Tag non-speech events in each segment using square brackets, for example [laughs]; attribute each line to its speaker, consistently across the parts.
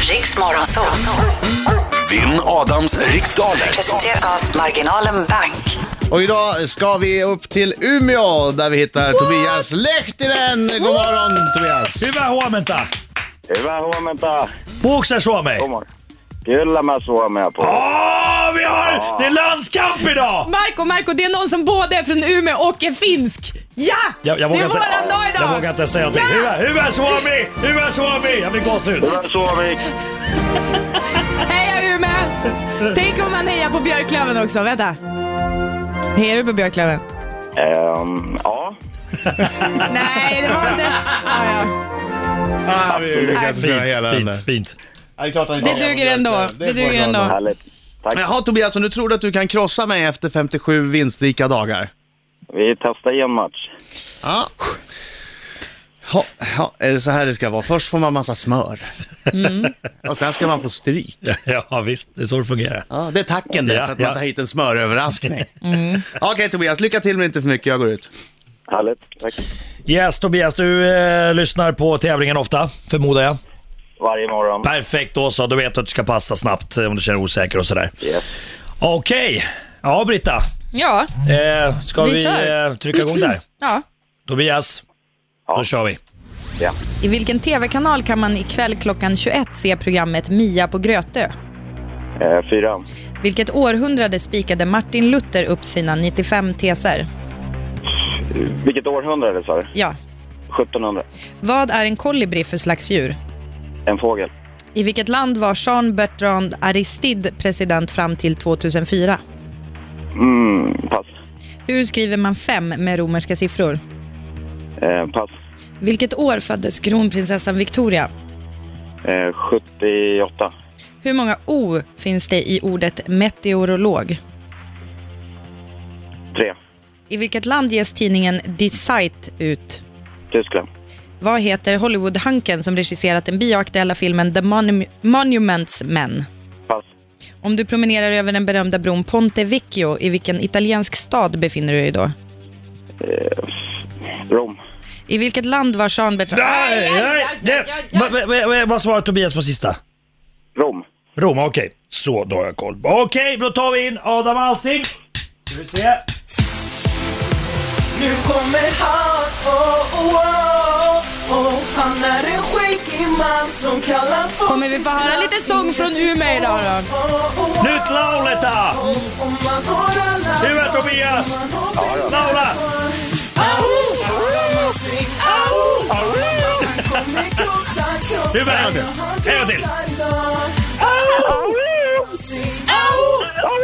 Speaker 1: Riks Morgonzoo.
Speaker 2: Vinn Adams riksdaler.
Speaker 1: Presenteras av Marginalen Bank.
Speaker 3: Och idag ska vi upp till Umeå där vi hittar Tobias Lehtinen. God morgon Tobias!
Speaker 4: Hyvää huomenta!
Speaker 5: Hyvää huomenta.
Speaker 4: Puhuuko sä suomea?
Speaker 5: God morgon. Kyllä mä suomea puhun.
Speaker 4: Åh, vi har... Det är landskamp idag!
Speaker 6: Marco, Marco, det är någon som både är från Umeå och är finsk. Ja!
Speaker 4: Jag, jag
Speaker 6: det är
Speaker 4: vågar inte-
Speaker 6: våran dag idag!
Speaker 4: Jag vågar inte säga någonting.
Speaker 6: Ja!
Speaker 4: Hyvä, hyvä suomi! Hyvä suomi! Jag blir gåshud.
Speaker 5: Hyvä suomi.
Speaker 6: Heja Umeå! Tänk om man hejar på Björklöven också, vänta. Hejar du på Björklöven?
Speaker 5: Ehm, ja.
Speaker 6: Nej, det var inte... Ja, ja.
Speaker 3: Ah, vi vi kan inte
Speaker 4: Fint,
Speaker 3: köra hela den där.
Speaker 4: fint, fint.
Speaker 3: Ja, Det är klart han inte
Speaker 6: Det
Speaker 3: har.
Speaker 6: duger ändå. Det
Speaker 3: får jag
Speaker 6: duger
Speaker 3: glad
Speaker 6: ändå.
Speaker 5: Härligt. Tack.
Speaker 3: för. Jaha Tobias, och nu tror du att du kan krossa mig efter 57 vinstrika dagar?
Speaker 5: Vi testar igen match.
Speaker 3: Ja. Ha, ha, är det så här det ska vara? Först får man massa smör. Och sen ska man få stryk.
Speaker 4: Ja, visst. Det är så det fungerar.
Speaker 3: Ja, det är tacken det,
Speaker 4: Ja,
Speaker 3: för att
Speaker 4: ja.
Speaker 3: man tar hit en smöröverraskning. Okej Tobias, lycka till men inte för mycket, jag går ut.
Speaker 5: Härligt. Tack.
Speaker 4: Yes, Tobias, du eh, lyssnar på tävlingen ofta, förmodar jag.
Speaker 5: Varje morgon.
Speaker 4: Perfekt, då så. Då vet du att du ska passa snabbt eh, om du känner dig osäker och sådär.
Speaker 5: Yes.
Speaker 4: Okej. Ja, Britta.
Speaker 6: Ja,
Speaker 4: Eh, ska
Speaker 6: Vi
Speaker 4: vi,
Speaker 6: kör.
Speaker 4: eh, trycka igång där?
Speaker 6: ja.
Speaker 4: Tobias,
Speaker 5: Ja.
Speaker 4: då kör vi.
Speaker 5: Ja.
Speaker 6: I vilken tv-kanal kan man ikväll klockan 21 se programmet Mia på Grötö?
Speaker 5: Eh, fyra.
Speaker 6: Vilket århundrade spikade Martin Luther upp sina 95 teser?
Speaker 5: Vilket århundrade sa du?
Speaker 6: Ja.
Speaker 5: 1700.
Speaker 6: Vad är en kolibri för slags djur?
Speaker 5: En fågel.
Speaker 6: I vilket land var Jean Bertrand Aristide president fram till 2004?
Speaker 5: Mm, pass.
Speaker 6: Hur skriver man fem med romerska siffror?
Speaker 5: Eh, pass.
Speaker 6: Vilket år föddes kronprinsessan Victoria?
Speaker 5: Eh, 78.
Speaker 6: Hur många O finns det i ordet meteorolog?
Speaker 5: Tre.
Speaker 6: I vilket land ges tidningen Die Zeit ut?
Speaker 5: Tyskland.
Speaker 6: Vad heter Hollywood-hanken som regisserat den bioaktuella filmen The Monu- Monuments Men?
Speaker 5: Pass.
Speaker 6: Om du promenerar över den berömda bron Ponte Vecchio, i vilken italiensk stad befinner du dig då?
Speaker 5: Rom.
Speaker 6: I vilket land var Jean Bertrand...
Speaker 4: Nej, nej, nej. Va- va- va- va- Vad svarade Tobias på sista?
Speaker 5: Rom.
Speaker 4: Roma, okej. Så, då har jag koll. Okej, då tar vi in Adam Alsing. Ska vi se.
Speaker 7: Nu kommer han, oh, oh, oh, oh. Han är en skäggig man som kallas på
Speaker 6: Kommer vi få höra lite sång från Umeå idag då?
Speaker 7: Oh, oh, oh,
Speaker 4: Nytt Lauleta!
Speaker 7: om man har alla
Speaker 4: Huvudet Tobias!
Speaker 7: man har pengar
Speaker 4: Laula!
Speaker 7: kvar. Au, alla man sing, au, Han kommer krossa, krossa
Speaker 4: Huvudet! En gång till!
Speaker 7: krossar idag. Man sing,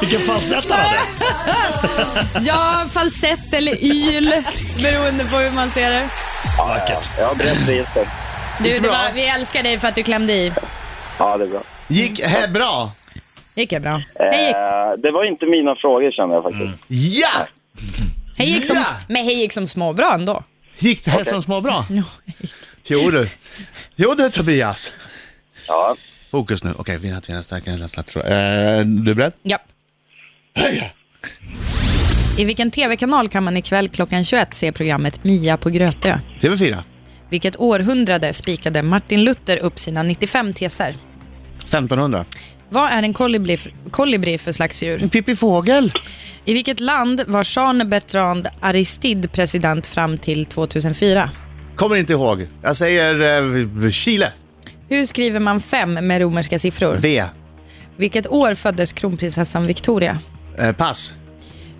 Speaker 4: Vilken falsett han hade!
Speaker 6: Ja, falsett eller yl, beroende på hur man ser det.
Speaker 4: Vackert.
Speaker 5: Ja, brett register.
Speaker 6: Du, det var, vi älskar dig för att du klämde i.
Speaker 5: Ja, det är bra.
Speaker 3: Gick he, bra?
Speaker 6: gick det bra. Hej gick,
Speaker 5: Eh, det var inte mina frågor kände jag faktiskt.
Speaker 3: Ja!
Speaker 6: hej gick som,
Speaker 3: Ja!
Speaker 6: men hej gick som småbra ändå.
Speaker 3: Gick det här som små bra? Jo du. Jo du Tobias.
Speaker 5: Ja.
Speaker 3: Fokus nu. Okej, vinna, vinna, starkare än rädsla. Tror jag. Eh, du är beredd?
Speaker 6: Ja. I vilken tv-kanal kan man ikväll klockan 21 se programmet Mia på Grötö?
Speaker 3: TV4.
Speaker 6: Vilket århundrade spikade Martin Luther upp sina 95 teser?
Speaker 3: 1500.
Speaker 6: Vad är en kolibri, kolibri för slags djur?
Speaker 3: En Pippi Fågel.
Speaker 6: I vilket land var Jean Bertrand Aristide president fram till 2004?
Speaker 3: Kommer inte ihåg. Jag säger eh, Chile.
Speaker 6: Hur skriver man fem med romerska siffror?
Speaker 3: V.
Speaker 6: Vilket år föddes kronprinsessan Victoria?
Speaker 3: Eh, pass.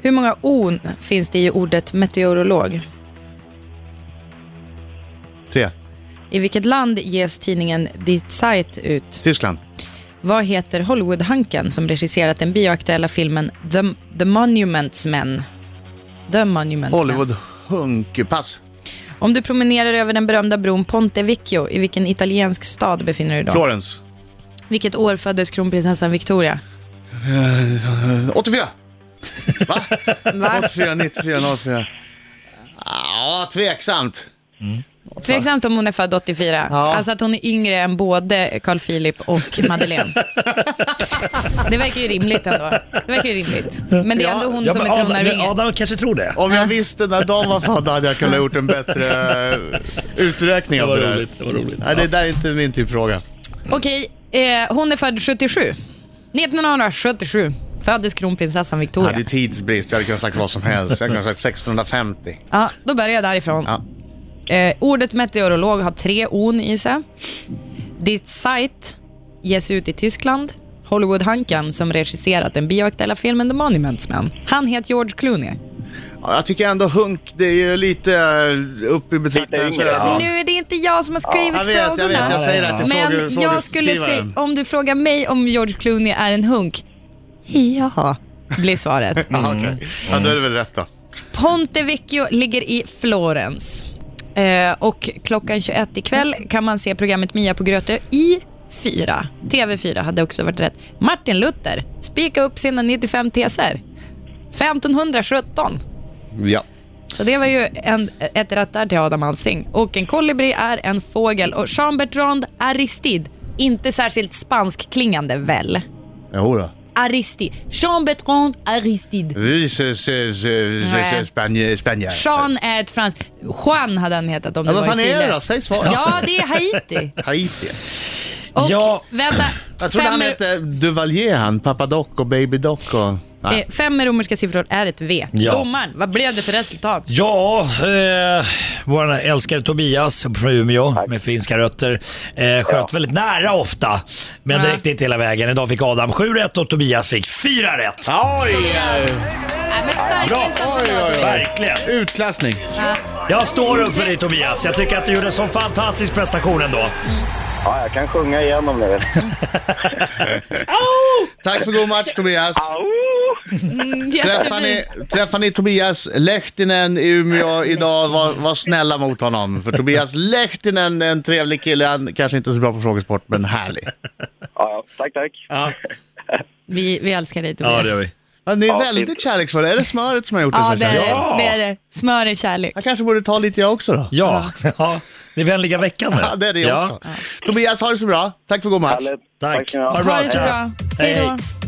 Speaker 6: Hur många O finns det i ordet meteorolog?
Speaker 3: 3.
Speaker 6: I vilket land ges tidningen Die Zeit ut?
Speaker 3: Tyskland.
Speaker 6: Vad heter Hollywood-hanken som regisserat den bioaktuella filmen The, The Monuments Men? The Monuments Men.
Speaker 3: Hollywood. Hunk. Pass.
Speaker 6: Om du promenerar över den berömda bron Ponte Vecchio, i vilken italiensk stad befinner du dig då?
Speaker 3: Florens.
Speaker 6: Vilket år föddes kronprinsessan Victoria?
Speaker 3: Eh, 84. [laughs] Va? 84, 94, 04. Ja, ah, tveksamt.
Speaker 6: Tveksamt om hon är född 84.
Speaker 3: Ja.
Speaker 6: Alltså att hon är yngre än både Carl Philip och Madeleine.
Speaker 4: [laughs]
Speaker 6: det verkar ju rimligt ändå. Det verkar ju rimligt. Men det är ändå hon
Speaker 4: Ja,
Speaker 6: som
Speaker 4: men
Speaker 6: är
Speaker 4: Adam,
Speaker 6: tronarvinge.
Speaker 4: Adam kanske tror det.
Speaker 3: Om jag visste när de var födda hade jag kunnat gjort en bättre eh, uträkning
Speaker 4: Det
Speaker 3: av
Speaker 4: var
Speaker 3: det där.
Speaker 4: roligt. Det var roligt.
Speaker 3: Nej, det där är inte min typ fråga.
Speaker 6: Oh, Okej, eh, hon är född 77. 1977 föddes kronprinsessan
Speaker 3: Jag
Speaker 6: Victoria.
Speaker 3: hade ju tidsbrist, jag hade kunnat sagt vad som helst. Jag hade kunnat sagt 1650.
Speaker 6: Ja, då börjar jag därifrån. Eh, ordet meteorolog har tre on i sig. Ditt sajt ges ut i Tyskland. Hollywood-hanken som regisserat den bioaktuella filmen The Monuments Man. Han heter George Clooney.
Speaker 3: Ja, Jag tycker ändå hunk, det är ju lite eh, upp i betraktaren.
Speaker 5: Lite yngre, ja.
Speaker 6: Nu är det inte jag som har skrivit
Speaker 3: Jag vet, jag vet.
Speaker 6: frågorna.
Speaker 3: Jag säger det till
Speaker 6: Men
Speaker 3: fråge-
Speaker 6: jag skulle säga,
Speaker 3: frågeskrivaren.
Speaker 6: om du frågar mig om George Clooney är en hunk, ja, blir svaret.
Speaker 3: Ja,
Speaker 4: Mm.
Speaker 3: okej. Ja, då är det väl rätt då.
Speaker 6: [laughs] Ponte Vecchio ligger i Florens. Eh, och klockan 21 ikväll kan man se programmet Mia på Grötö i fyra. TV4 hade också varit rätt. Martin Luther spika upp sina 95 teser. 1517.
Speaker 3: Ja.
Speaker 6: Så det var ju en, ett rätt där till Adam Alsing. Och en kolibri är en fågel. Och Jean-Bertrand Aristide, inte särskilt spansk klingande väl?
Speaker 3: Jo då.
Speaker 6: Aristide. Jean-Bertrand Aristide.
Speaker 3: Vi ses
Speaker 6: Nej.
Speaker 3: Spanien.
Speaker 6: Jean är ett franskt... Juan hade han hetat om det
Speaker 3: Ja, vad
Speaker 6: var i
Speaker 3: fan
Speaker 6: Chile.
Speaker 3: är det då? Säg svaret.
Speaker 6: Ja, det
Speaker 3: [laughs]
Speaker 6: är Haiti.
Speaker 3: Haiti.
Speaker 6: Och
Speaker 4: Ja.
Speaker 6: vänta,
Speaker 3: Jag trodde han
Speaker 6: fem,
Speaker 3: hette Duvalier han, Papa Doc och Baby Doc och... Nej.
Speaker 6: eh, fem romerska siffror är ett V.
Speaker 4: Ja.
Speaker 6: Domaren, vad blev det för resultat?
Speaker 4: Ja, eh, vår älskade Tobias från Umeå med finska rötter eh, sköt väldigt nära ofta. Men det
Speaker 6: Ja.
Speaker 4: räckte inte hela vägen. Idag fick Adam 7 rätt och Tobias fick 4 rätt.
Speaker 6: Eh.
Speaker 3: Oj!
Speaker 6: Nej, men stark
Speaker 4: Bra.
Speaker 3: Oj,
Speaker 6: insats
Speaker 3: oj,
Speaker 6: idag.
Speaker 3: oj.
Speaker 4: Verkligen.
Speaker 3: Utklassning.
Speaker 4: Jag står upp för dig Tobias. Jag tycker att du gjorde en sån fantastisk prestation ändå.
Speaker 5: Ja, jag kan sjunga igen om ni vill.
Speaker 3: Tack för god match Tobias.
Speaker 6: Mm,
Speaker 3: Träffar
Speaker 6: jättefint.
Speaker 3: ni, träffar ni Tobias Lehtinen i Umeå idag, var, var snälla mot honom. För Tobias Lehtinen är en trevlig kille. Han kanske inte är så bra på frågesport, men härlig.
Speaker 5: Ja, tack, tack.
Speaker 3: Ja.
Speaker 6: Vi, vi älskar dig Tobias.
Speaker 4: gör vi.
Speaker 3: Ja, ni är
Speaker 5: Ja,
Speaker 3: väldigt kärleksfulla. Är det smöret som har gjort det
Speaker 6: Ja,
Speaker 3: så
Speaker 6: det är
Speaker 3: kärleksfulla?
Speaker 4: Ja.
Speaker 6: det. det, är det. Smör är kärlek.
Speaker 3: Jag kanske borde ta lite jag också då.
Speaker 4: Ja, ja. det är vänliga veckan nu.
Speaker 3: Ja, det är det jag också. Tobias, ha det så bra. Tack för god match.
Speaker 5: Härligt.
Speaker 4: Tack.
Speaker 5: ska ni ha.
Speaker 4: Ha det bra.
Speaker 6: Ha det så bra. Hej då.